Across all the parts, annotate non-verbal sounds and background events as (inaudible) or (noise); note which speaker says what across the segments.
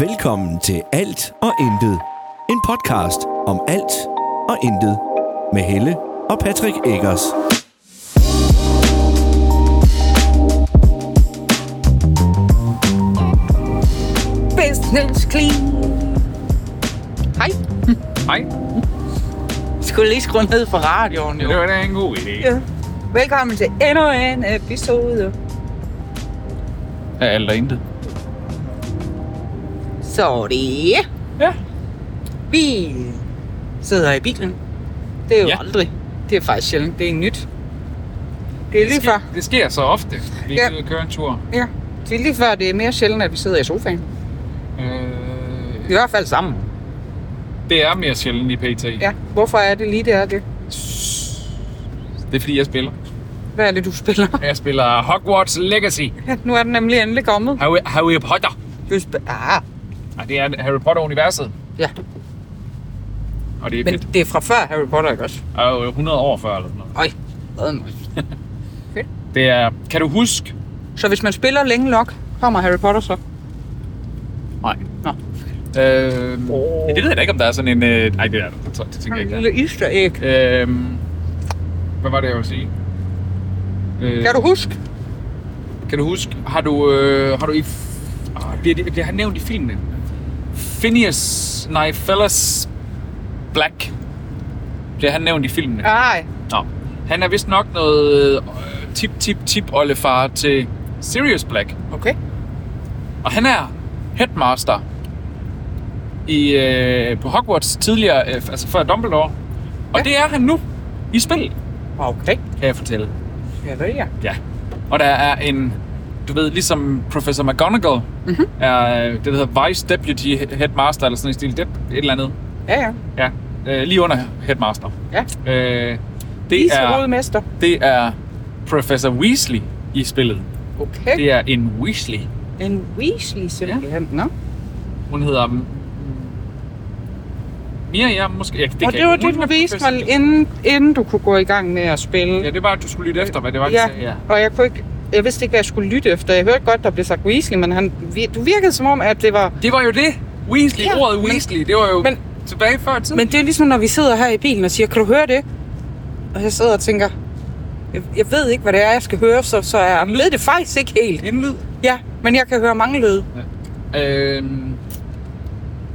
Speaker 1: Velkommen til Alt og Intet. En podcast om alt og intet. Med Helle og Patrick Eggers.
Speaker 2: Business clean. Hej.
Speaker 3: Hej,
Speaker 2: Skulle lige skrue ned for radioen, jo.
Speaker 3: det var da en god idé.
Speaker 2: Ja. Velkommen til endnu en episode.
Speaker 3: Af alt og intet.
Speaker 2: Så det er.
Speaker 3: Ja.
Speaker 2: Vi sidder i bilen. Det er jo
Speaker 3: Ja.
Speaker 2: ja. aldrig. Det er faktisk sjældent. Det er nyt. Det er lige
Speaker 3: Det
Speaker 2: før.
Speaker 3: sker, det sker så ofte. Vi
Speaker 2: Ja.
Speaker 3: ja. kan køre en tur.
Speaker 2: Ja. Det er lige før, det er mere sjældent, at vi sidder i sofaen. I
Speaker 3: Øh,
Speaker 2: hvert fald sammen.
Speaker 3: det er mere sjældent i PT.
Speaker 2: Ja. Hvorfor er det lige det er det?
Speaker 3: Det er fordi, jeg spiller.
Speaker 2: Hvad er det, du spiller?
Speaker 3: Jeg spiller Hogwarts Legacy.
Speaker 2: Ja, nu er den nemlig endelig kommet.
Speaker 3: Harry, Harry Potter.
Speaker 2: Du sp- ah,
Speaker 3: Og det er Harry Potter-universet.
Speaker 2: ja.
Speaker 3: Og det er
Speaker 2: Men
Speaker 3: fedt.
Speaker 2: det er fra før Harry Potter, ikke også?
Speaker 3: Og jo 100 år før eller sådan noget.
Speaker 2: Øj, hvad nu?
Speaker 3: Det er... Kan du huske?
Speaker 2: Så hvis man spiller længe nok, kommer Harry Potter så?
Speaker 3: Nej.
Speaker 2: Nå. Åh.
Speaker 3: Øh, oh. Det ved jeg da ikke, om der er sådan en... Øh, nej, det er der. Det, det tænker
Speaker 2: en
Speaker 3: jeg ikke, der er.
Speaker 2: lille easter egg.
Speaker 3: Øhm, hvad var det, jeg ville sige? Øh,
Speaker 2: Kan du huske?
Speaker 3: Kan du huske, har du, øh, har du i... Oh, bliver, det, bliver han nævnt i filmen? Phineas, nej, Fellas Black. Bliver han nævnt i filmen?
Speaker 2: Nej.
Speaker 3: Nå. Han er vist nok noget øh, tip, tip, tip oldefar til Sirius Black.
Speaker 2: Okay.
Speaker 3: Og han er headmaster i, øh, på Hogwarts tidligere, øh, altså før Dumbledore. Og
Speaker 2: Ja.
Speaker 3: det er han nu i spillet,
Speaker 2: Okay.
Speaker 3: kan jeg fortælle.
Speaker 2: Ja, det er jeg.
Speaker 3: Ja. Og der er en, du ved, ligesom Professor McGonagall
Speaker 2: Mhm.
Speaker 3: mm-hmm. er øh, det, der hedder Vice Deputy Headmaster, eller sådan en stil, det, et eller andet.
Speaker 2: Ja, ja.
Speaker 3: Ja, øh, lige under Headmaster.
Speaker 2: Ja.
Speaker 3: Øh,
Speaker 2: Det
Speaker 3: det, er,
Speaker 2: mester.
Speaker 3: det er Professor Weasley i spillet.
Speaker 2: Okay.
Speaker 3: Det er en Weasley.
Speaker 2: En Weasley simpelthen. Ja. Nå.
Speaker 3: Hun hedder... mm, Miriam, måske. Ja, det
Speaker 2: Det og
Speaker 3: kan
Speaker 2: det var
Speaker 3: jeg ikke.
Speaker 2: det,
Speaker 3: Hun
Speaker 2: du
Speaker 3: er
Speaker 2: viste
Speaker 3: professor-
Speaker 2: mig, inden, inden du kunne gå i gang med at spille.
Speaker 3: Ja, det var, at du skulle
Speaker 2: Øh,
Speaker 3: lytte efter, hvad det var, de sagde. Ja.
Speaker 2: og jeg kunne ikke... Jeg vidste ikke, hvad jeg skulle lytte efter. Jeg hørte godt, der blev sagt Weasley, men han, vi- du virkede som om, at det var...
Speaker 3: Det var jo det. Weasley,
Speaker 2: Ja,
Speaker 3: ja, ordet
Speaker 2: men-
Speaker 3: Weasley, det var jo
Speaker 2: men-
Speaker 3: men, tilbage før tiden.
Speaker 2: Men det er ligesom, når vi sidder her i bilen og siger, kan du høre det? Og jeg sidder og tænker, jeg, jeg ved ikke, hvad det er, jeg skal høre, så, så jeg ved det faktisk ikke helt.
Speaker 3: en lyd.
Speaker 2: Ja, men jeg kan høre mange lyde.
Speaker 3: Øhm,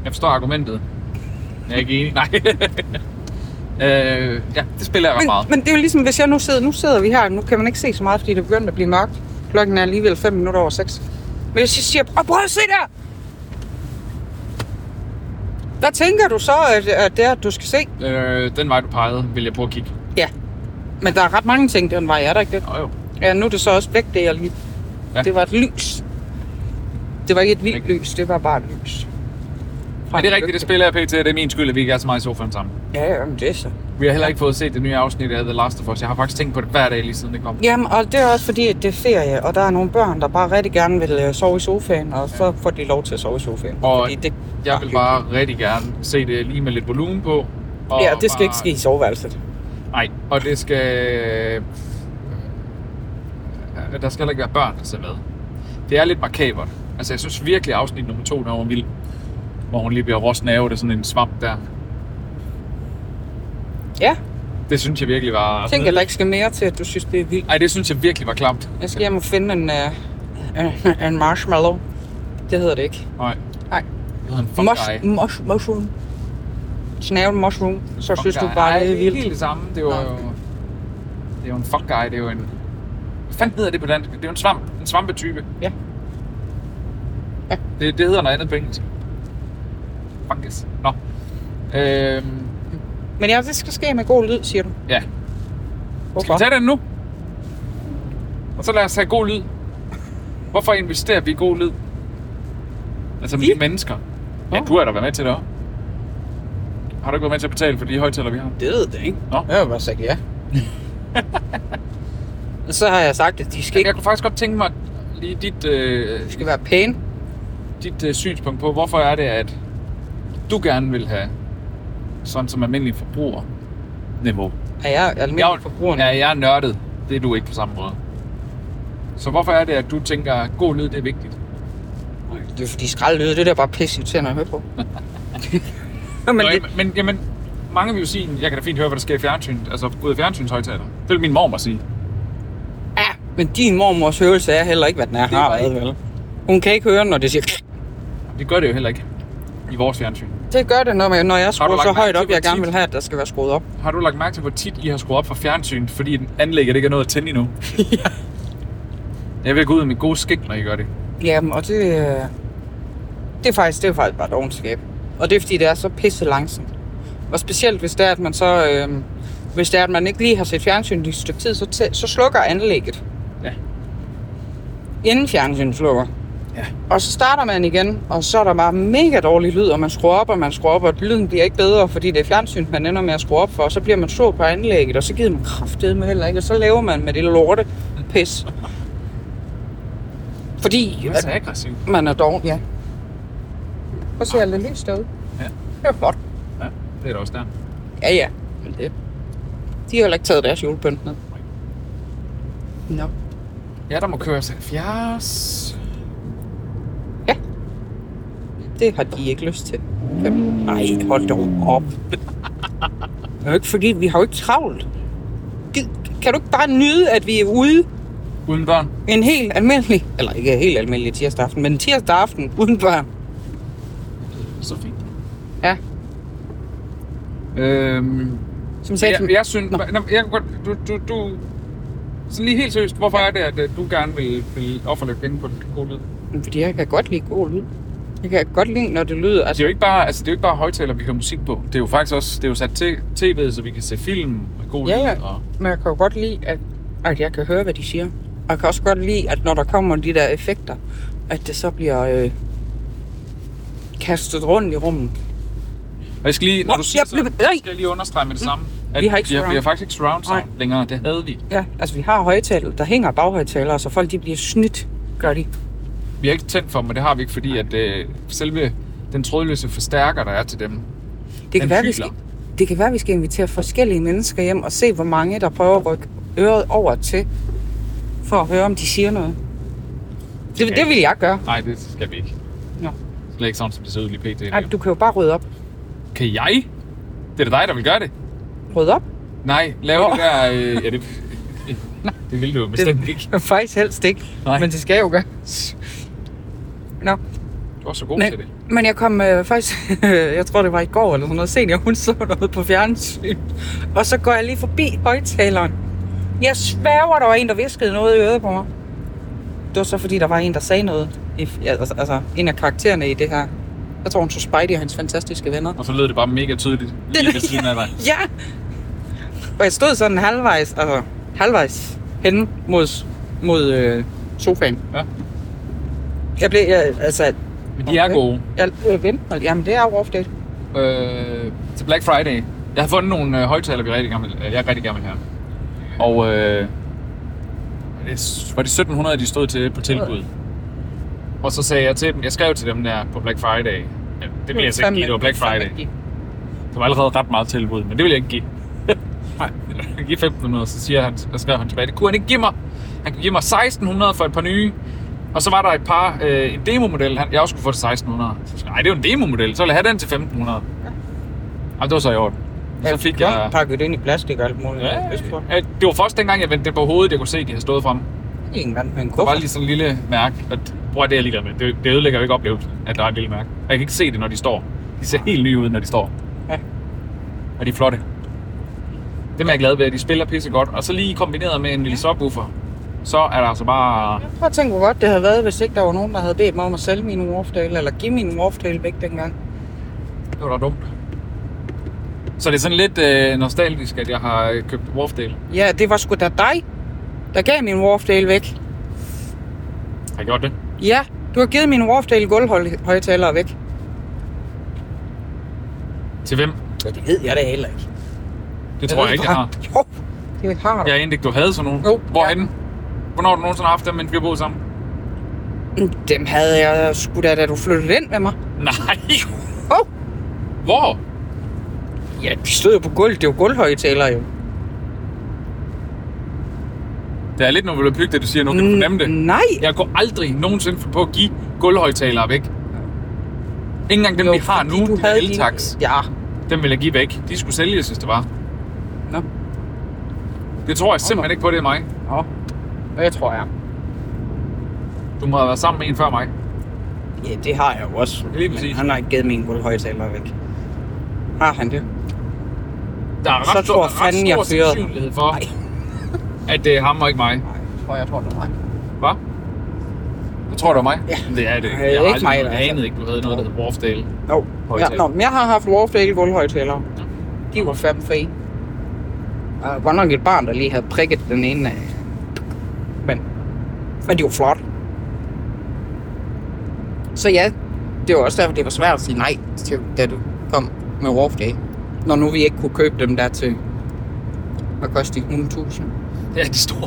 Speaker 3: jeg forstår argumentet. Jeg er ikke enig. Nej. (laughs) øh, ja, det spiller jeg ret
Speaker 2: Men,
Speaker 3: meget.
Speaker 2: men det er jo ligesom, hvis jeg nu sidder, nu sidder vi her, nu kan man ikke se så meget, fordi det er begyndt at blive mørkt. Klokken er alligevel 5 minutter over 6. Men hvis jeg siger, oh, prøv at se der! Hvad tænker du så, at, at det er, du skal se?
Speaker 3: Øh, den vej, du pegede, vil jeg prøve at kigge.
Speaker 2: Ja. Men der er ret mange ting den vej, er der ikke det?
Speaker 3: Åh jo.
Speaker 2: Ja, nu er det så også væk, det jeg lige... Ja.
Speaker 3: Ja.
Speaker 2: Det var et lys. Det var ikke et vildt
Speaker 3: Ikke-
Speaker 2: lys, det var bare et lys.
Speaker 3: Men det er rigtigt, det spiller jeg pt. Det er min skyld, at vi ikke er så meget i sofaen sammen.
Speaker 2: Ja, jamen, det er så.
Speaker 3: Vi har heller ikke fået set det nye afsnit af The Last of Us. Jeg har faktisk tænkt på det hver dag lige siden det kom.
Speaker 2: Jamen, og det er også fordi, at det er ferie, og der er nogle børn, der bare rigtig gerne vil øh, sove i sofaen, og så får de lov til at sove i sofaen.
Speaker 3: Og
Speaker 2: fordi det,
Speaker 3: Jeg vil bare rigtig gerne se det lige med lidt volumen på. Og
Speaker 2: Ja, det skal
Speaker 3: bare...
Speaker 2: ikke ske i soveværelset.
Speaker 3: Nej, og det skal... øh, Der skal heller ikke være børn, der ser med. Det er lidt markabert. Altså, jeg synes virkelig, afsnit nummer to, der var vild. Hvor hun lige bliver rosten af, det er sådan en svamp der.
Speaker 2: Ja,
Speaker 3: Det synes jeg virkelig var...
Speaker 2: tænk, at der ikke skal mere til, at du synes, det er vildt.
Speaker 3: Ej, det synes jeg virkelig var klamt.
Speaker 2: Jeg skal hjem og finde en, uh, en, en marshmallow. Det hedder det ikke.
Speaker 3: Nej.
Speaker 2: Nej.
Speaker 3: Det hedder en fuck
Speaker 2: Mush,
Speaker 3: Mush,
Speaker 2: mush, mushroom. Snaven mushroom. Så synes du bare, det er
Speaker 3: det er helt
Speaker 2: vildt.
Speaker 3: det samme. Det var
Speaker 2: Nå.
Speaker 3: jo... Det er jo en fuck guy. Det er jo en... Hvad fanden hedder det på dansk? Det er jo en svamp. En svampetype.
Speaker 2: Ja. Ja.
Speaker 3: Det, det hedder noget andet på engelsk. Fungus. Nå. Øhm,
Speaker 2: Men ja, det skal ske med god lyd, siger du.
Speaker 3: ja. Skal
Speaker 2: Hvorfor?
Speaker 3: vi tage den nu? Og så lad os have god lyd. Hvorfor investerer vi i god lyd? Altså vi
Speaker 2: Vi?
Speaker 3: mennesker. Ja,
Speaker 2: Nå.
Speaker 3: du har da været med til det også. Har du ikke været med til at betale for de højtaler, vi har?
Speaker 2: Det ved det ikke.
Speaker 3: Nå.
Speaker 2: Jeg har bare sagt
Speaker 3: (laughs)
Speaker 2: ja. Og så har jeg sagt, at de skal
Speaker 3: Jeg
Speaker 2: ikke
Speaker 3: kunne faktisk godt tænke mig lige dit, øh,
Speaker 2: de skal være pæne.
Speaker 3: dit øh, synspunkt på, hvorfor er det, at du gerne vil have sådan som almindelig forbruger niveau.
Speaker 2: Er jeg
Speaker 3: Jeg,
Speaker 2: almindelig forbruger?
Speaker 3: ja, jeg er nørdet. Det er du ikke på samme måde. Så hvorfor er det, at du tænker, at god lyd det er vigtigt?
Speaker 2: Det Det er fordi skraldlyde, det der er bare pisse irriterende at høre
Speaker 3: (laughs)
Speaker 2: på. men
Speaker 3: Nå,
Speaker 2: det,
Speaker 3: jamen, men jamen, mange vil jo sige, jeg kan da fint høre, hvad der sker i fjernsynet, altså ud af fjernsynshøjtaler. Det vil min mormor sige.
Speaker 2: ja, men din mormors hørelse er heller ikke, hvad den er. har
Speaker 3: bare
Speaker 2: været,
Speaker 3: ikke-
Speaker 2: vel? Hun kan ikke høre, når det siger... (laughs)
Speaker 3: Det gør det jo heller ikke i vores fjernsyn.
Speaker 2: Det gør det, når, man, når jeg skruer
Speaker 3: lagt
Speaker 2: så
Speaker 3: mærke
Speaker 2: højt
Speaker 3: til,
Speaker 2: op, jeg
Speaker 3: hvor
Speaker 2: gerne
Speaker 3: tit-
Speaker 2: vil have, at der skal være skruet op.
Speaker 3: Har du lagt mærke til, hvor tit I har skruet op for fjernsyn, fordi anlægget ikke er nået at tænde (laughs) endnu? ja. Jeg vil gå ud af mit gode skik, når I gør det.
Speaker 2: Jamen, og det... øh, Det er faktisk, det er faktisk bare et ovenskab. Og det er fordi, det er så pisse langsomt. Og specielt hvis det er, at man så... Øh, hvis det er, at man ikke lige har set fjernsyn i et stykke tid, så, tæ- så slukker anlægget.
Speaker 3: Ja.
Speaker 2: Inden fjernsynet slukker.
Speaker 3: Ja.
Speaker 2: Og så starter man igen, og så er der bare mega dårlig lyd, og man skruer op, og man skruer op, og lyden bliver ikke bedre, fordi det er fjernsyn, man ender med at skrue op for, og så bliver man sur på anlægget, og så gider man kraftedeme med heller ikke, og så laver man med det lorte
Speaker 3: (laughs)
Speaker 2: pis. Fordi
Speaker 3: Det er
Speaker 2: at
Speaker 3: så aggressivt.
Speaker 2: man er doven, ja. Prøv at se alt det lys derude.
Speaker 3: Ja.
Speaker 2: Det er flot.
Speaker 3: Ja, det er da også der.
Speaker 2: Ja, ja. Men det. De har heller ikke taget deres julepynt ned. Nå.
Speaker 3: Ja, der må køres 70.
Speaker 2: Det har de ikke lyst til. Fem. Nej, hold dog op. Det er jo ikke fordi, vi har jo ikke travlt. Gid- Kan du ikke bare nyde, at vi er ude
Speaker 3: Uden børn.
Speaker 2: en helt almindelig, eller ikke helt almindelig tirsdag aften, men tirsdag aften uden børn?
Speaker 3: Så fint.
Speaker 2: Ja,
Speaker 3: Øhm,
Speaker 2: som sagt.
Speaker 3: jeg, jeg synes... Nå. Jeg, kan godt- du, du, du, så lige helt seriøst, hvorfor er det, at øh, du gerne vil, vil offerlægge penge på den gode lyd?
Speaker 2: Fordi jeg kan godt lide god lyd. Jeg kan godt lide, når det lyder...
Speaker 3: Det er jo ikke bare, altså, det er jo ikke bare højtaler, vi hører musik på. Det er jo faktisk også det er jo sat til tv'et, så vi kan se film og god
Speaker 2: Ja, ja.
Speaker 3: lyd. Og,
Speaker 2: Men jeg kan jo godt lide, at, at jeg kan høre, hvad de siger. Og jeg kan også godt lide, at når der kommer de der effekter, at det så bliver øh, kastet rundt i rummet.
Speaker 3: og jeg skal lige, når
Speaker 2: Nå,
Speaker 3: du siger
Speaker 2: jeg
Speaker 3: sådan,
Speaker 2: blev- nej.
Speaker 3: skal jeg lige understrege med det samme. At
Speaker 2: Vi har ikke
Speaker 3: vi har, vi har
Speaker 2: surround.
Speaker 3: faktisk ikke surround sound
Speaker 2: Nej.
Speaker 3: længere. Det havde vi.
Speaker 2: Ja, altså vi har højtaler, der hænger baghøjtalere, så folk de bliver snydt, gør de.
Speaker 3: Vi har ikke tændt for dem, og det har vi ikke, fordi at øh, selve den trådløse forstærker, der er til dem,
Speaker 2: Det kan,
Speaker 3: Den
Speaker 2: være, vi
Speaker 3: hyler.
Speaker 2: skal, det kan være, vi skal invitere forskellige mennesker hjem og se, hvor mange der prøver at rykke øret over til, for at høre, om de siger noget. Det,
Speaker 3: kan
Speaker 2: det vil jeg gøre.
Speaker 3: Nej, det skal vi ikke.
Speaker 2: Nå.
Speaker 3: Slet ikke sådan, som det ser ud lige pt.
Speaker 2: Ej, du kan jo bare rydde op.
Speaker 3: Kan jeg? Det er da dig, der vil gøre det.
Speaker 2: Rydde op?
Speaker 3: Nej, lave det der... Øh, ja, det, det vil du jo bestemt det... ikke.
Speaker 2: Det er faktisk helst ikke,
Speaker 3: Nej.
Speaker 2: men det skal jo gøres. Nå,
Speaker 3: Du er så god til
Speaker 2: men,
Speaker 3: det.
Speaker 2: men jeg kom øh, faktisk, (laughs) jeg tror det var i går eller sådan noget, senior, hun så noget på fjernsyn. Og så går jeg lige forbi højtaleren. Jeg sværger, der var en, der viskede noget i øret på mig. Det var så fordi, der var en, der sagde noget. I, ja, altså, altså, en af karaktererne i det her. Jeg tror, hun så Spidey og hans fantastiske venner.
Speaker 3: Og så lød det bare mega tydeligt lige ved siden af dig.
Speaker 2: Ja! Og jeg stod sådan halvvejs, altså halvvejs hen mod, mod øh, sofaen.
Speaker 3: Ja.
Speaker 2: Jeg blev, jeg, altså...
Speaker 3: Men de er gode.
Speaker 2: Jeg, øh, vent, hold- jamen det er jo ofte.
Speaker 3: øh, til Black Friday. Jeg har fundet nogle øh, højtaler, vi rigtig gerne vil, øh, jeg rigtig gerne vil have. Og øh, det s- var det 1700, de stod til på tilbud. Og så sagde jeg til dem, jeg skrev til dem der på Black Friday. Ja, det ville jeg så ikke give, det var Black Friday. Der var allerede ret meget tilbud, men det vil jeg ikke give. Nej, jeg giver 1500, så siger han, så skrev han tilbage, det kunne han ikke give mig. Han kunne give mig 1600 for et par nye. Og så var der et par, øh, en demomodel, han, jeg også skulle få til 1600. Så sagde jeg, nej, det er jo en demomodel, så vil jeg have den til 1500. Ja. Jamen, det var så i orden. Så fik jeg...
Speaker 2: pakket det ind i plastik og alt muligt.
Speaker 3: Ja,
Speaker 2: det er sgu-
Speaker 3: øh, det var først dengang, jeg vendte det på hovedet, jeg kunne se, at de havde stået frem.
Speaker 2: Ingen vand med en
Speaker 3: Der var
Speaker 2: kuffert.
Speaker 3: lige sådan en lille mærke, og bror, det er jeg ligeglad med. Det, det ødelægger jo ikke oplevelsen, at der er et lille mærke. Og jeg kan ikke se det, når de står. De ser helt nye ud, når de står.
Speaker 2: Ja.
Speaker 3: Og de er flotte. Dem er jeg glad ved, at de spiller pisse godt. Og så lige kombineret med en lille subwoofer, så er der altså bare...
Speaker 2: Prøv at tænke, hvor godt det havde været, hvis ikke der var nogen, der havde bedt mig om at sælge min Wharfdale, eller give min Wharfdale væk dengang.
Speaker 3: Det var da dumt. Så det er sådan lidt øh, nostalgisk, at jeg har øh, købt Wharfdale.
Speaker 2: Ja, det var sgu da dig, der gav min Wharfdale væk.
Speaker 3: Har jeg gjort det?
Speaker 2: Ja, du har givet min Wharfdale gulvhøjtalere væk.
Speaker 3: Til hvem?
Speaker 2: Ja, det ved jeg da heller ikke.
Speaker 3: Det tror jeg ikke, jeg har.
Speaker 2: Jo, det har du.
Speaker 3: Jeg anede ikke, du havde sådan nogen.
Speaker 2: Jo.
Speaker 3: Hvorhenne? Hvornår har du nogensinde haft dem, mens vi har boet sammen?
Speaker 2: Dem havde jeg sgu da, da du flyttede ind med mig.
Speaker 3: Nej.
Speaker 2: Åh! Oh.
Speaker 3: Hvor?
Speaker 2: Ja, de stod jo på gulvet. Det er jo gulvhøjtalere jo.
Speaker 3: Der er lidt noget volapyk, det du siger nu.
Speaker 2: Mm.
Speaker 3: Kan du fornemme det?
Speaker 2: Nej.
Speaker 3: Jeg går aldrig nogensinde finde på at give gulvhøjtalere væk. Ikke engang dem, jo, vi har nu,
Speaker 2: fordi
Speaker 3: de der
Speaker 2: havde din-
Speaker 3: eltax,
Speaker 2: Ja.
Speaker 3: dem vil jeg give væk. De skulle sælges, hvis det var.
Speaker 2: Nå.
Speaker 3: Det tror jeg simpelthen ikke på, det er mig.
Speaker 2: Nå. Det tror jeg.
Speaker 3: Du må have været sammen med en før mig.
Speaker 2: Ja, det har jeg jo også.
Speaker 3: Lige
Speaker 2: Men
Speaker 3: præcis.
Speaker 2: han har ikke givet min guldhøjtaler væk. Har han det?
Speaker 3: Der er ret
Speaker 2: Så
Speaker 3: stor,
Speaker 2: tror
Speaker 3: der er ret
Speaker 2: fanden, jeg
Speaker 3: stor
Speaker 2: fyrede.
Speaker 3: sandsynlighed for,
Speaker 2: Nej.
Speaker 3: (laughs) at det er ham og ikke mig.
Speaker 2: Nej, jeg tror, jeg tror, det var mig.
Speaker 3: Hva? Du tror, det var mig?
Speaker 2: Ja.
Speaker 3: Men Det er det.
Speaker 2: Øh,
Speaker 3: har
Speaker 2: ikke
Speaker 3: aldrig-
Speaker 2: mig,
Speaker 3: Jeg
Speaker 2: altså.
Speaker 3: anede ikke, du havde noget, der hed Wharfdale.
Speaker 2: Jo.
Speaker 3: Højtaler.
Speaker 2: Ja, nå, men jeg har haft Warfdale guldhøjtalere. De var fem fri. Der var godt nok et barn, der lige havde prikket den ene af. Men, men de var flot. Så ja, det var også derfor, det var svært at sige nej, til, da du kom med Warfdale. Når nu vi ikke kunne købe dem der til hvad koster de 100.000.
Speaker 3: (laughs) Ja, de store.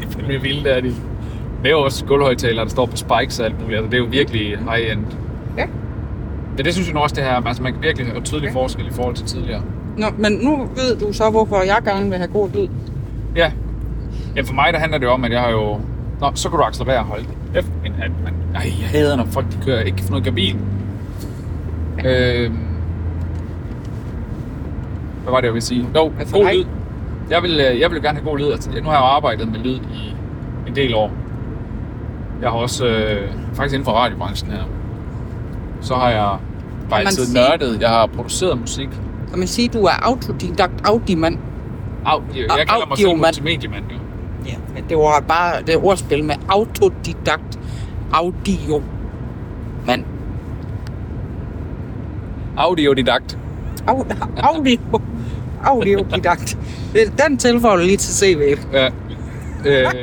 Speaker 3: de er fandme vilde, der er de. Det er jo også gulvhøjtalere, der står på spikes og alt muligt. Altså, det er jo virkelig high-end.
Speaker 2: Ja.
Speaker 3: Men det synes jeg nu også, det her, altså man kan virkelig høre tydelig
Speaker 2: Ja.
Speaker 3: forskel i forhold til tidligere.
Speaker 2: Nå, men nu ved du så, hvorfor jeg gerne vil have god lyd.
Speaker 3: Ja. ja, for mig der handler det jo om, at jeg har jo... Nå, så kan du accelerere og holde F en hand, mand. Ej, jeg hader, når folk de kører ikke kan få noget af bilen. Øhm. Hvad var det, jeg ville sige? Jo,
Speaker 2: Altså,
Speaker 3: god
Speaker 2: hej.
Speaker 3: lyd. Jeg vil, øh, jeg vil gerne have god lyd. Altså, nu har jeg jo arbejdet med lyd i en del år. Jeg har også, øh, faktisk inden for radiobranchen her, så har jeg bare
Speaker 2: man
Speaker 3: altid
Speaker 2: sige-
Speaker 3: nørdet. Jeg har produceret musik.
Speaker 2: Kan man sige, at du er autodidakt audimand?
Speaker 3: Au, jeg, jeg kalder mig selv
Speaker 2: audiomand.
Speaker 3: multimediemand, jo.
Speaker 2: Ja, men det var bare det ordspil med autodidakt audio. Men
Speaker 3: Audiodidakt.
Speaker 2: au, audio. Audiodidakt. Øh, Den tilføjer du lige til CV.
Speaker 3: Ja. Øh,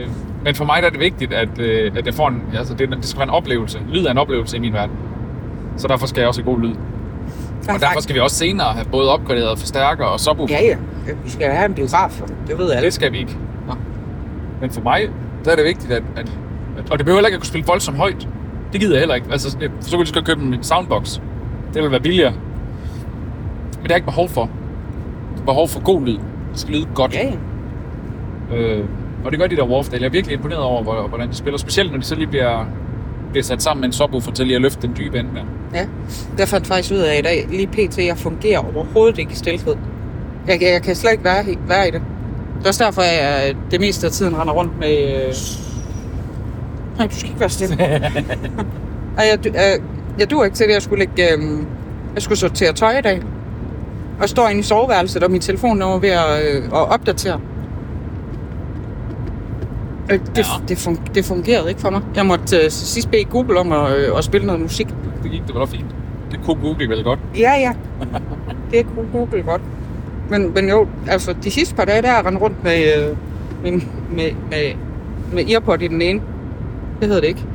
Speaker 3: men for mig der er det vigtigt, at, øh, at jeg får en, altså det, det skal være en oplevelse. Lyd er en oplevelse i min verden. Så derfor skal jeg også have god lyd. Og derfor skal vi også senere have både opgraderet forstærker og subwoofer.
Speaker 2: Ja, ja. Vi skal have en biograf. Det ved alle.
Speaker 3: Det skal vi ikke. Nå. Men for mig, der er det vigtigt, at, at, at og det behøver heller ikke at kunne spille voldsomt højt. Det gider jeg heller ikke. Altså, det- så kunne jeg lige så godt købe en soundbox. Det vil være billigere. Men det har jeg ikke behov for. Jeg har behov for god lyd. Det skal lyde godt.
Speaker 2: Ja, ja.
Speaker 3: Øh, og det gør de der Wharfdale. Jeg er virkelig imponeret over, hvor- hvordan de spiller. Specielt når de så lige bliver, bliver sat sammen med en subwoofer til lige at løfte den dybe ende der.
Speaker 2: ja. Jeg fandt faktisk ud af i dag, lige pt. jeg fungerer overhovedet ikke i stilhed. Jeg, jeg, jeg kan slet ikke være, i- være i det. Det er også derfor, at jeg det meste af tiden render rundt med... Øh... Nej, du skal ikke være stille. Ej, jeg, du- øh, jeg dur ikke til det. Jeg skulle, lægge, øh, jeg skulle sortere tøj i dag. Og står inde i soveværelset, og min telefon er ved at, øh, at opdatere. Øh, det,
Speaker 3: Ja.
Speaker 2: det, fun, det fungerede ikke for mig. Jeg måtte øh, sidst bede Google om at, øh, at spille noget musik.
Speaker 3: Det gik det var da fint. Det kunne Google vel godt.
Speaker 2: Ja, ja. Det kunne Google godt. Men, men jo, altså de sidste par dage, der har jeg rendt rundt med, øh, med, med, med, med Earpod i den ene. Det hedder det ikke.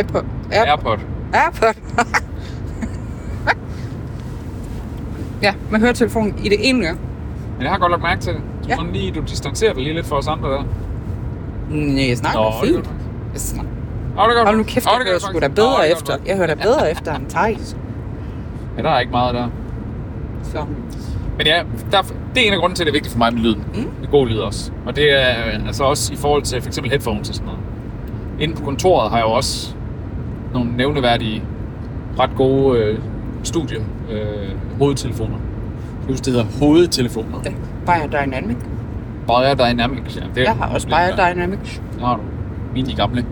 Speaker 2: iPod. Air,
Speaker 3: Airpod.
Speaker 2: Airpod. ja, med høretelefonen i det ene øre.
Speaker 3: Men jeg har godt lagt mærke til det. Du,
Speaker 2: Ja.
Speaker 3: ja. lige, du distancerer dig lige lidt for os andre der.
Speaker 2: Nej, jeg snakker
Speaker 3: Nå, det
Speaker 2: fint.
Speaker 3: gør du.
Speaker 2: Jeg snakker.
Speaker 3: Åh, det gør
Speaker 2: Hold nu
Speaker 3: du.
Speaker 2: kæft,
Speaker 3: Åh,
Speaker 2: jeg
Speaker 3: det gør
Speaker 2: hører
Speaker 3: du
Speaker 2: sgu da
Speaker 3: faktisk.
Speaker 2: bedre
Speaker 3: Åh, det gør du
Speaker 2: efter.
Speaker 3: faktisk.
Speaker 2: Jeg hører da bedre efter en thais.
Speaker 3: Ja, der er ikke meget der.
Speaker 2: Så.
Speaker 3: Men ja, der, det er en af grunden til, at det er vigtigt for mig med lyden. Mm. Det er god lyd også. Og det er øh, altså også i forhold til f.eks. headphones og sådan noget. Inde på kontoret har jeg jo også nogle nævneværdige, ret gode øh, studie øh, hovedtelefoner. Jeg husker, det hedder hovedtelefoner.
Speaker 2: Ja. øh, Biodynamic.
Speaker 3: Biodynamic. Ja, det er
Speaker 2: Jeg har også Biodynamic.
Speaker 3: Det har du. Mine de gamle.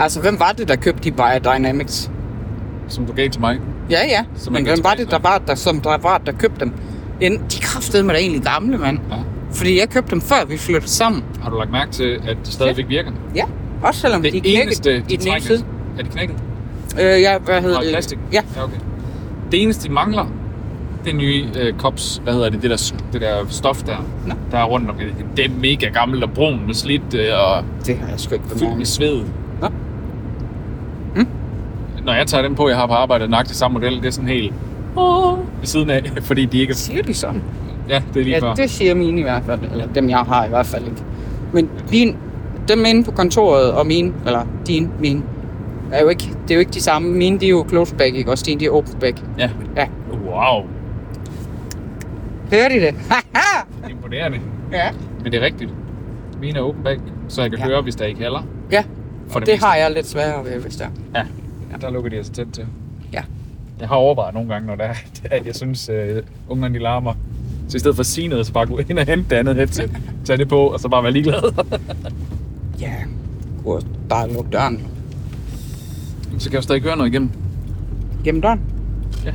Speaker 2: Altså, hvem var det, der købte de Biodynamics?
Speaker 3: Som du gav til mig.
Speaker 2: Ja, ja.
Speaker 3: Så
Speaker 2: Så
Speaker 3: man
Speaker 2: men
Speaker 3: kan
Speaker 2: hvem var
Speaker 3: tilbage
Speaker 2: det, der var der, som der var, der købte dem? En, de kraftede mig da egentlig gamle, mand.
Speaker 3: Ja.
Speaker 2: Fordi jeg købte dem, før vi flyttede sammen.
Speaker 3: Har du lagt mærke til, at de stadigvæk virker?
Speaker 2: Ja, også selvom
Speaker 3: Det
Speaker 2: de knækkede
Speaker 3: eneste, de
Speaker 2: i den ene
Speaker 3: trækker-
Speaker 2: side.
Speaker 3: Er de knækket?
Speaker 2: Øh, ja, hvad hedder
Speaker 3: Og
Speaker 2: det?
Speaker 3: plastik?
Speaker 2: Ja,
Speaker 3: ja okay. Det eneste, de mangler, det er nye øh, kops, hvad hedder det, det der, det der stof der,
Speaker 2: Nå.
Speaker 3: der er rundt om det. Det er mega gammelt og brun med slidt øh, og
Speaker 2: det har jeg sgu ikke
Speaker 3: fyldt med
Speaker 2: bemærket.
Speaker 3: sved. Mm.
Speaker 2: Nå.
Speaker 3: Når jeg tager dem på, jeg har på arbejde, nøjagtigt samme model, det er sådan helt
Speaker 2: Åh,
Speaker 3: ved siden af, (laughs) fordi de ikke er...
Speaker 2: Siger de sådan?
Speaker 3: Ja, det er lige
Speaker 2: Ja,
Speaker 3: før.
Speaker 2: det siger mine i hvert fald. Eller dem, jeg har i hvert fald ikke. Men din, dem inde på kontoret og mine, eller din, mine, er jo ikke, det er jo ikke de samme. Mine, de er jo close back, ikke? Og din, de er open back.
Speaker 3: Ja.
Speaker 2: Ja,
Speaker 3: Wow,
Speaker 2: hører de det? (laughs) Haha!
Speaker 3: imponerende.
Speaker 2: Ja.
Speaker 3: Men det er rigtigt. Mine er åben bag, så jeg kan
Speaker 2: Ja.
Speaker 3: ja. høre, hvis der ikke halder.
Speaker 2: Ja,
Speaker 3: For
Speaker 2: og det, det har jeg lidt sværere ved, hvis der.
Speaker 3: Ja. ja. Der lukker de altså tæt til.
Speaker 2: Ja.
Speaker 3: Jeg har overvejet nogle gange, når det er, (laughs) at jeg synes, øh, ungerne de larmer. Så i stedet for at sige noget, så bare gå ind og hente det andet headset, tage det på, og så bare være ligeglad.
Speaker 2: Ja, kunne også bare lukke døren.
Speaker 3: så kan jeg stadig gøre noget igennem.
Speaker 2: Gennem døren?
Speaker 3: Ja.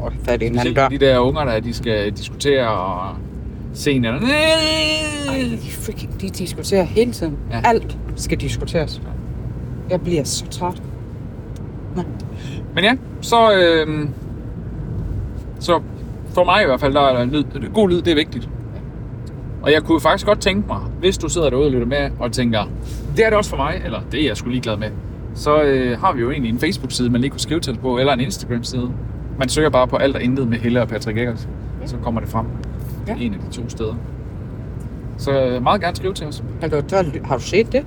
Speaker 2: Og fat i en anden
Speaker 3: Selv
Speaker 2: dør.
Speaker 3: de der unger, der de skal diskutere og se hinanden.
Speaker 2: Ej, de freaking, de diskuterer hele tiden. Ja.
Speaker 3: Ja.
Speaker 2: Alt skal diskuteres. Jeg bliver så træt.
Speaker 3: Men ja, så, øh, så for mig i hvert fald, der er lyd, god lyd, det er vigtigt. Og jeg kunne faktisk godt tænke mig, hvis du sidder derude og lytter med og tænker, det er det også for mig, eller det er jeg sgu ligeglad med, så øh, har vi jo egentlig en Facebook-side, man lige kunne skrive til os på, eller en Instagram-side. Man søger bare på alt og intet med Helle og Patrick Eggers, så kommer det frem.
Speaker 2: Ja.
Speaker 3: En af de to steder. Så øh, meget gerne skrive til os.
Speaker 2: Har du, der, er ly- har du set det?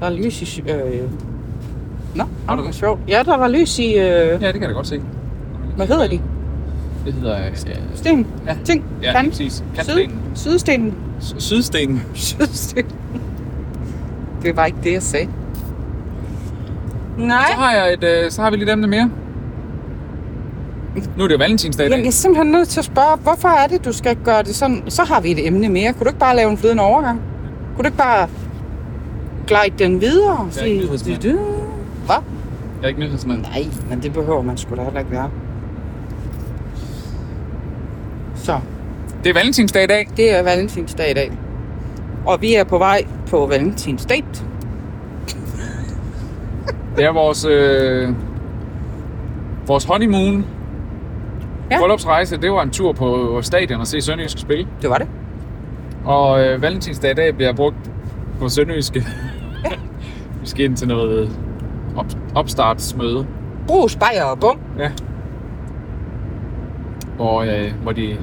Speaker 2: Der er lys i... sy- Øh... Nå,
Speaker 3: Har
Speaker 2: har
Speaker 3: du
Speaker 2: du
Speaker 3: det?
Speaker 2: sjovt. Ja, der var lys i... Øh...
Speaker 3: Ja, det kan jeg da godt se.
Speaker 2: Hvad hedder de?
Speaker 3: Det hedder... Øh,
Speaker 2: Sten?
Speaker 3: Ja.
Speaker 2: Ting?
Speaker 3: ja,
Speaker 2: Kan?
Speaker 3: præcis.
Speaker 2: Syd,
Speaker 3: Kantstenen.
Speaker 2: sydstenen? (laughs)
Speaker 3: Sy- Sydstenen.
Speaker 2: Sydstenen. Det var ikke det, jeg sagde.
Speaker 3: Så
Speaker 2: Nej.
Speaker 3: har, jeg et, øh, så har vi lidt emne mere. Nu er det jo valentinsdag i
Speaker 2: Jamen, jeg
Speaker 3: dag.
Speaker 2: er simpelthen nødt til at spørge, hvorfor er det, du skal gøre det sådan? Så har vi et emne mere. Kunne du ikke bare lave en flydende overgang? Kunne du ikke bare glide den videre? og
Speaker 3: Jeg er ikke
Speaker 2: sige-
Speaker 3: nyhedsmand.
Speaker 2: du- Hvad?
Speaker 3: Jeg er ikke nyhedsmand.
Speaker 2: Nej, men det behøver man sgu da heller ikke være. Så,
Speaker 3: Det er valentinsdag i dag.
Speaker 2: det er valentinsdag i dag. Og vi er på vej på Valentins date.
Speaker 3: Det er vores, øh, vores honeymoon.
Speaker 2: Ja.
Speaker 3: Ja. Bryllupsrejse, det var en tur på stadion og se Sønderjysk spille.
Speaker 2: Det var det.
Speaker 3: Og øh, valentinsdag i dag bliver brugt på Sønderjyske. (laughs) vi skal ind til noget op, opstartsmøde.
Speaker 2: Brug spejer og bum.
Speaker 3: Ja. Hvor, øh, hvor de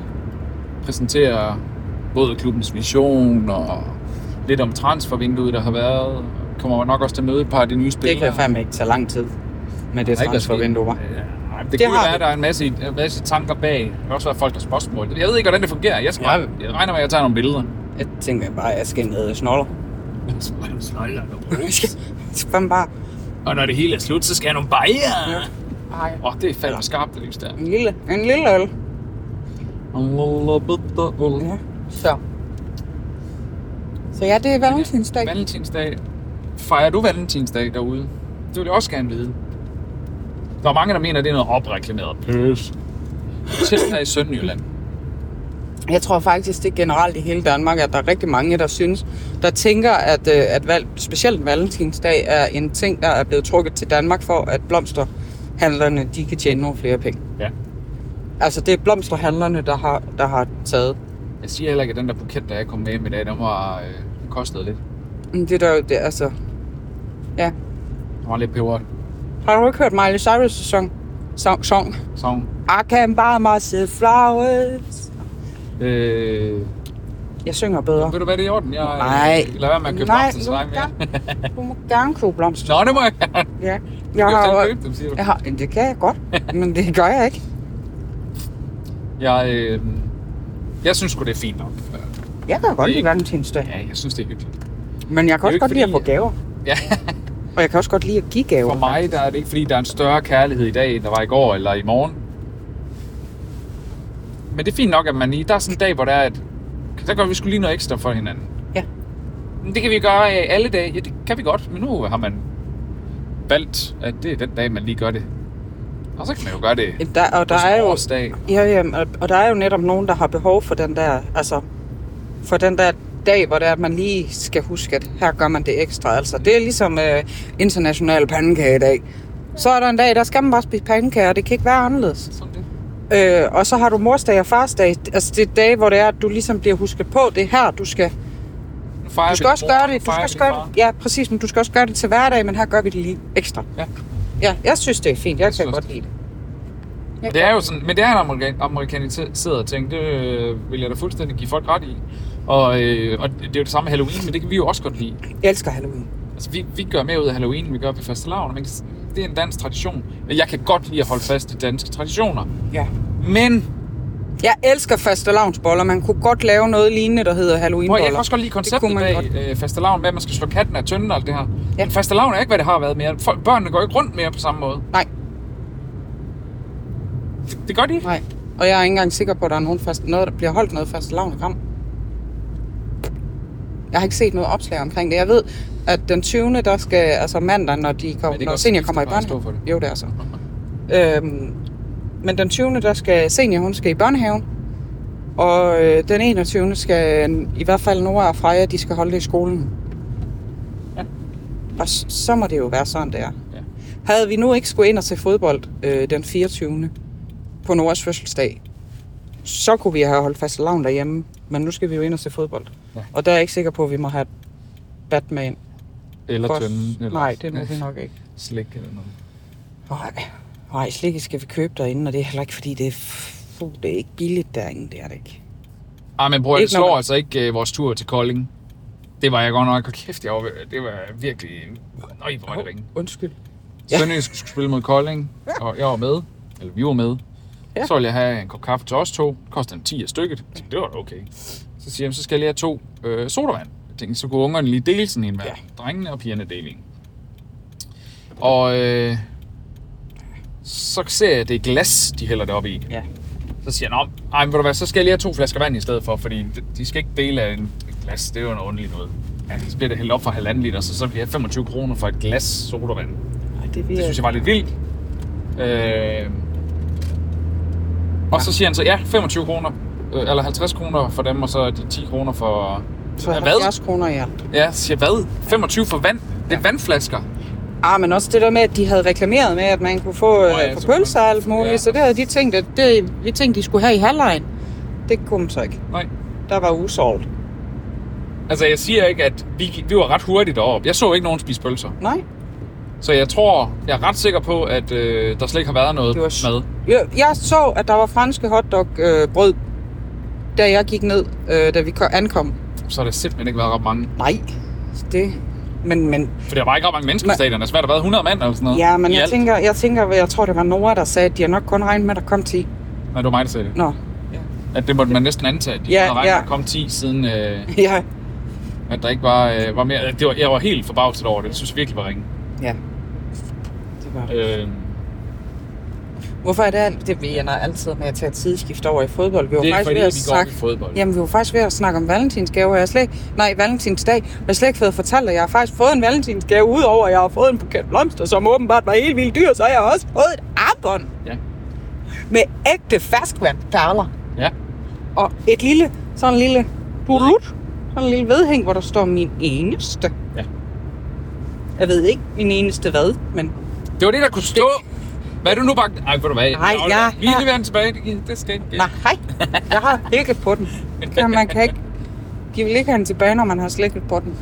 Speaker 3: præsenterer både klubbens vision og lidt om transfervinduet, der har været. Kommer nok også til at møde et par af de nye spillere.
Speaker 2: Det kan fandme ikke tage lang tid med det
Speaker 3: Der har ikke været
Speaker 2: transfervindue, hva'?
Speaker 3: sket- Ja, det,
Speaker 2: Det
Speaker 3: det kunne
Speaker 2: har
Speaker 3: være,
Speaker 2: vi.
Speaker 3: at der er en masse, en masse tanker bag. Der kan også være folk, der har spørgsmål. Jeg ved ikke, hvordan det fungerer. Jeg, skal,
Speaker 2: Nej.
Speaker 3: jeg regner med, at jeg tager nogle billeder.
Speaker 2: Jeg tænker bare, at jeg skal ned og snoller. (laughs) Så fandme bare
Speaker 3: (laughs) og når det hele er slut, så skal jeg nogle bajer.
Speaker 2: Ej.
Speaker 3: Åh, oh, det er fandme skarpt, det lys der.
Speaker 2: en lille, en lille øl. Ja. Så. Så ja, det er valentinsdag.
Speaker 3: Valentinsdag. Fejrer du Valentinsdag derude? Det vil jeg også gerne vide. Der er mange, der mener, at det er noget opreklameret pøs. Selv her i Sønderjylland.
Speaker 2: Jeg tror faktisk, det er generelt i hele Danmark, at der er rigtig mange, der synes, der tænker, at, øh, at valg, specielt valentinsdag er en ting, der er blevet trukket til Danmark for, at blomsterhandlerne de kan tjene nogle flere penge.
Speaker 3: Ja.
Speaker 2: Altså, det er blomsterhandlerne, der har, der har taget.
Speaker 3: Jeg siger heller ikke, at den der buket, der jeg kom med hjem i dag, den var øh, den kostede lidt.
Speaker 2: Men Det er der jo, det, er altså... Ja.
Speaker 3: Den var lidt peberet.
Speaker 2: Har du ikke hørt Miley Cyrus' song? Song? song?
Speaker 3: Så
Speaker 2: I can buy myself flowers.
Speaker 3: øh,
Speaker 2: Jeg synger bedre.
Speaker 3: ved du hvad, det er i orden. Jeg,
Speaker 2: Nej.
Speaker 3: Lad være med at købe
Speaker 2: Nej,
Speaker 3: blomster til
Speaker 2: du må,
Speaker 3: dig mere.
Speaker 2: gerne, du må gerne købe blomster.
Speaker 3: (laughs) Nå, det må jeg gerne.
Speaker 2: Ja. Jeg
Speaker 3: Du kan jo
Speaker 2: har,
Speaker 3: selv
Speaker 2: jo-
Speaker 3: købe dem, siger du.
Speaker 2: jeg har, det kan jeg godt,
Speaker 3: (laughs)
Speaker 2: men det gør jeg ikke.
Speaker 3: Jeg, øh, jeg synes sgu, det er fint nok.
Speaker 2: Jeg kan godt
Speaker 3: Det er
Speaker 2: lide
Speaker 3: ikke-
Speaker 2: valentinsdag,
Speaker 3: Ja, jeg synes, det er hyggeligt.
Speaker 2: men jeg kan også
Speaker 3: Det er jo ikke
Speaker 2: godt lide at få
Speaker 3: fordi-
Speaker 2: gaver.
Speaker 3: Ja.
Speaker 2: Og jeg kan også godt lide at give gaver.
Speaker 3: For mig der er det ikke, fordi der er en større kærlighed i dag, end der var i går eller i morgen. Men det er fint nok, at man lige, der er sådan en dag, hvor der er, at så gør vi skulle lige noget ekstra for hinanden.
Speaker 2: Ja.
Speaker 3: Men det kan vi gøre øh, alle dage. Ja, det kan vi godt, men nu har man valgt, at det er den dag, man lige gør det. Og så kan man jo gøre det
Speaker 2: Der, og der
Speaker 3: på sin
Speaker 2: er jo,
Speaker 3: årsdag.
Speaker 2: ja, ja, og- og der er jo netop nogen, der har behov for den der, altså, for den der dag, hvor det er, at man lige skal huske, at her gør man det ekstra. Altså, det er ligesom øh, international pandekage i dag. Så er der en dag, der skal man bare spise pandekager, og det kan ikke være anderledes.
Speaker 3: Sådan det.
Speaker 2: Øh, og så har du morsdag og farsdag. Altså det er dage, hvor det er, at du ligesom bliver husket på, det er her, du skal...
Speaker 3: Nu fejrer
Speaker 2: Du
Speaker 3: vi
Speaker 2: skal også
Speaker 3: mor,
Speaker 2: gøre
Speaker 3: nu
Speaker 2: det. Du
Speaker 3: fejrer
Speaker 2: skal
Speaker 3: vi
Speaker 2: også gøre
Speaker 3: far.
Speaker 2: det. Ja, præcis, men du skal også gøre det til hverdag, men her gør vi det lige ekstra.
Speaker 3: Ja.
Speaker 2: Ja, jeg synes, det er fint. Jeg, kan
Speaker 3: synes
Speaker 2: godt
Speaker 3: det.
Speaker 2: lide det.
Speaker 3: Det er jo sådan, men det er en amerikan- amerikaniseret ting, det øh, vil jeg da fuldstændig give folk ret i. Og, øh, og det er jo det samme med Halloween, men det kan vi jo også godt lide.
Speaker 2: Jeg elsker Halloween.
Speaker 3: Altså, vi, vi gør mere ud af Halloween, end vi gør ved første lavn, men det er en dansk tradition. Jeg kan godt lide at holde fast i danske traditioner,
Speaker 2: Ja.
Speaker 3: men
Speaker 2: Jeg elsker fastelavnsboller. Man kunne godt lave noget lignende, der hedder
Speaker 3: Prøv, jeg
Speaker 2: Halloweenboller.
Speaker 3: kan også godt lide konceptet
Speaker 2: kunne man
Speaker 3: bag
Speaker 2: godt.
Speaker 3: øh, fastelavn, med at man skal slå katten af tynden og alt det her.
Speaker 2: Ja.
Speaker 3: Ja. Men fastelavn er ikke, hvad det har været mere. Folk, børnene går ikke rundt mere på samme måde.
Speaker 2: Nej,
Speaker 3: Det, det gør de ikke.
Speaker 2: nej. Og jeg er ikke engang sikker på, at der er nogen fast, noget, der bliver holdt noget fastelavn i Gram. Jeg har ikke set noget opslag omkring det. Jeg ved, at den 20. der skal, altså mandag, når, de
Speaker 3: Men det
Speaker 2: kom,
Speaker 3: kan
Speaker 2: når
Speaker 3: også
Speaker 2: senior
Speaker 3: skifte
Speaker 2: kommer i
Speaker 3: bare at
Speaker 2: børnehave.
Speaker 3: stå for det.
Speaker 2: Jo, det er så. Øhm, men den 20. der skal senior, hun skal i børnehaven. Og øh, den 21. skal i hvert fald Nora og Freja, de skal holde det i skolen.
Speaker 3: Ja.
Speaker 2: Og s- så må det jo være sådan, det er.
Speaker 3: Ja.
Speaker 2: Havde vi nu ikke skulle ind og se fodbold øh, den 24. på Noras fødselsdag, så kunne vi have holdt fast lavn derhjemme. Men nu skal vi jo ind og se fodbold.
Speaker 3: Ja.
Speaker 2: Og der er jeg ikke sikker på, at vi må have Batman.
Speaker 3: Eller
Speaker 2: For-
Speaker 3: tynden. Eller
Speaker 2: Nej, det må vi nok ikke.
Speaker 3: Slik eller noget.
Speaker 2: Nej, nej, slik skal vi købe derinde, og det er heller ikke, fordi det er, f- uh, det er ikke billigt derinde, det er det ikke.
Speaker 3: Ej, Ah, men bror, det
Speaker 2: Ikke når
Speaker 3: slår
Speaker 2: man-
Speaker 3: altså ikke øh, vores tur til Kolding. Det var jeg godt nok. Hold kæft, jeg var, det var virkelig... Nøj, hvor var det ringe.
Speaker 2: Undskyld. Ja.
Speaker 3: Sønderjysk skulle spille mod Kolding, og jeg var med. Eller vi var med.
Speaker 2: Ja.
Speaker 3: Ja. Så ville jeg have en kop kaffe til os to. Det kostede en 10 af stykket. Jeg tænkte, Det var da okay. Så siger jeg, så skal jeg lige have to øh, sodavand. Jeg tænkte, så kunne ungerne lige dele sådan en hver.
Speaker 2: Ja.
Speaker 3: Ja. Drengene og pigerne dele en. Og øh, så ser jeg, at det er glas, de hælder det op i.
Speaker 2: Ja.
Speaker 3: Så siger han, nej, men ved du hvad, så skal jeg lige have to flasker vand i stedet for, fordi de- de skal ikke dele af en et glas. Det er jo noget underligt noget. Ja, så bliver det hældt op for halvanden liter, så så bliver jeg 25 kroner for et glas sodavand.
Speaker 2: Ej, det,
Speaker 3: Det synes jeg var lidt vildt. Øh... Og så siger han så, ja, 25 kroner, øh, eller 50 kroner for dem, og så de 10 kroner for...
Speaker 2: Så
Speaker 3: Ja,
Speaker 2: 70 kroner i alt.
Speaker 3: Ja, så siger jeg, hvad? 25 for vand? Det er vandflasker.
Speaker 2: Ah, men også det der med, at de havde reklameret med, at man kunne få
Speaker 3: ja,
Speaker 2: øh, for
Speaker 3: så
Speaker 2: pølser og alt
Speaker 3: kunne man-
Speaker 2: muligt, ja.
Speaker 3: ja.
Speaker 2: så det havde de tænkt, at det, vi tænkte, de skulle have i halvlejen. Det kunne man så ikke.
Speaker 3: Nej.
Speaker 2: Der var usolgt.
Speaker 3: Altså, jeg siger ikke, at vi, gik- vi var ret hurtigt deroppe. Jeg så ikke nogen spise pølser.
Speaker 2: Nej.
Speaker 3: Så jeg tror, jeg er ret sikker på, at øh, der slet ikke har været noget
Speaker 2: Det var s-
Speaker 3: mad.
Speaker 2: Jeg, jeg så, at der var franske hotdog-brød, øh, brød, da jeg gik ned, øh, da vi ko- ankom.
Speaker 3: Så har der simpelthen ikke været ret mange.
Speaker 2: Nej, det... Men, men
Speaker 3: For der var ikke ret mange mennesker
Speaker 2: Men-
Speaker 3: i stadion. Altså, Der har været 100 mand eller sådan noget.
Speaker 2: Ja, men
Speaker 3: i
Speaker 2: jeg
Speaker 3: alt.
Speaker 2: tænker, jeg tænker, jeg tror, det var Nora, der sagde, at de har nok kun regnet med, at der kom 10.
Speaker 3: Nej, det var mig, der sagde det.
Speaker 2: Nå, (laughs)
Speaker 3: At det måtte man næsten antage, at de
Speaker 2: Ja,
Speaker 3: ja, havde regnet,
Speaker 2: ja.
Speaker 3: ja. der kom 10 siden, øh,
Speaker 2: ja.
Speaker 3: at der ikke var, øh, var mere. Det var, jeg var helt forbavset over det. Jeg synes jeg virkelig var ringe.
Speaker 2: Ja. Det var det.
Speaker 3: Øh,
Speaker 2: Hvorfor er det alt? Det vi ender altid med at tage et tidsskift over i fodbold. Vi var
Speaker 3: det er
Speaker 2: faktisk
Speaker 3: fordi,
Speaker 2: ved at
Speaker 3: vi går op
Speaker 2: snakke...
Speaker 3: i fodbold.
Speaker 2: Jamen, vi var faktisk ved at snakke om valentinsgave, og jeg har slet... Nej, valentinsdag. og Jeg har slet ikke fået fortalt, at jeg har faktisk fået en valentinsgave, udover at jeg har fået en buket blomster, som åbenbart var helt vildt dyr, så har jeg også fået et armbånd
Speaker 3: Ja.
Speaker 2: med ægte ferskvandperler.
Speaker 3: ja.
Speaker 2: og et lille, sådan en lille burut, sådan en lille vedhæng, hvor der står min eneste.
Speaker 3: Ja.
Speaker 2: Jeg ved ikke min eneste hvad, men
Speaker 3: Det var det, der kunne stå. Hvad er du nu bare... Ej, ved du hvad?
Speaker 2: Nej,
Speaker 3: Nå,
Speaker 2: jeg-
Speaker 3: Vi leverer den tilbage. Det- Det skal ikke.
Speaker 2: nej, jeg har slikket på den. Ja, man kan ikke, de vil ikke have den tilbage, når man har slikket på den.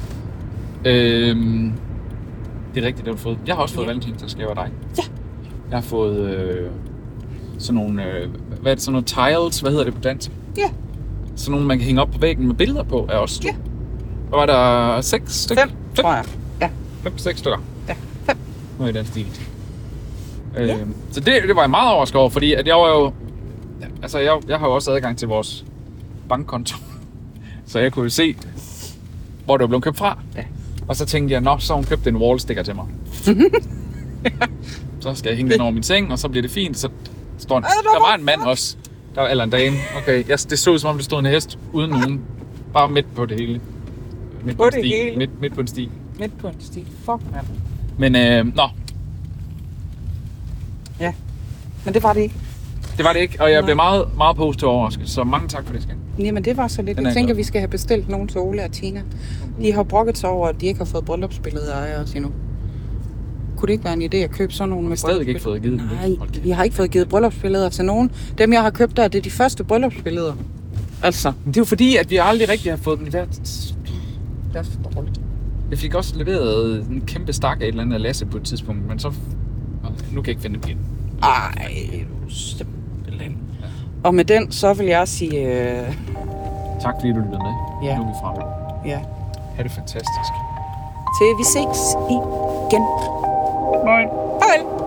Speaker 3: Øhm, det er rigtigt, det har du fået. Jeg har også fået
Speaker 2: Ja.
Speaker 3: ja. valentinsdagsgave af dig.
Speaker 2: Ja.
Speaker 3: Jeg har fået øh, sådan nogle, øh, hvad er det, sådan nogle tiles, hvad hedder det på dansk?
Speaker 2: Ja,
Speaker 3: Sådan nogle, man kan hænge op på væggen med billeder på af os.
Speaker 2: Ja.
Speaker 3: Og var der seks stykker?
Speaker 2: fem, tror jeg. Ja,
Speaker 3: Fem, seks stykker.
Speaker 2: ja, fem.
Speaker 3: Noget i den stil. Øh, Så det, det var jeg meget overrasket over, fordi at jeg var jo... Altså, jeg, jeg har jo også adgang til vores bankkonto. (laughs) Så jeg kunne jo se, hvor det var blevet købt fra.
Speaker 2: Ja.
Speaker 3: Og så tænkte jeg, nå, så har hun købt en wallsticker
Speaker 2: (laughs)
Speaker 3: til mig. så skal jeg hænge den over min seng, og så bliver det fint. Så står en,
Speaker 2: Ej, hvor
Speaker 3: der var en mand også. Der var, eller en dame. Okay, jeg, det så ud som om, det stod en hest uden nogen. Bare midt på det hele. Midt
Speaker 2: På
Speaker 3: en
Speaker 2: det
Speaker 3: sti.
Speaker 2: hele.
Speaker 3: Midt, midt på en sti.
Speaker 2: Midt på en stil. Fuck, mand.
Speaker 3: Men øh, nå,
Speaker 2: Ja, men det var det ikke.
Speaker 3: Det var det ikke, og jeg
Speaker 2: Nej.
Speaker 3: blev meget, meget positiv overrasket, så mange tak for det, skat.
Speaker 2: Jamen, det var så lidt.
Speaker 3: Den er
Speaker 2: Jeg
Speaker 3: jeg
Speaker 2: tænker,
Speaker 3: glad
Speaker 2: vi skal have bestilt nogen til Ole og Tina. De har brokket sig over, at de ikke har fået bryllupsbilleder af os endnu. Kunne det ikke være en idé at købe sådan nogle med
Speaker 3: Stadig ikke fået givet dem.
Speaker 2: Nej,
Speaker 3: Hold kæft.
Speaker 2: vi har ikke fået givet bryllupsbilleder til nogen. Dem, jeg har købt der, det er de første bryllupsbilleder. Altså.
Speaker 3: Men Det er jo fordi, at vi aldrig rigtig har fået den der...
Speaker 2: Det er for dårligt.
Speaker 3: Jeg fik også leveret en kæmpe stak af et eller andet af Lasse på et tidspunkt, men så... Nu kan jeg ikke finde det igen.
Speaker 2: Ej, du er simpelthen. Og med den, så vil jeg sige, øh,
Speaker 3: Tak fordi du lyttede med.
Speaker 2: Ja.
Speaker 3: Nu er vi fremme.
Speaker 2: ja,
Speaker 3: Ha' det fantastisk.
Speaker 2: til vi ses igen.
Speaker 3: Bye.
Speaker 2: Farvel.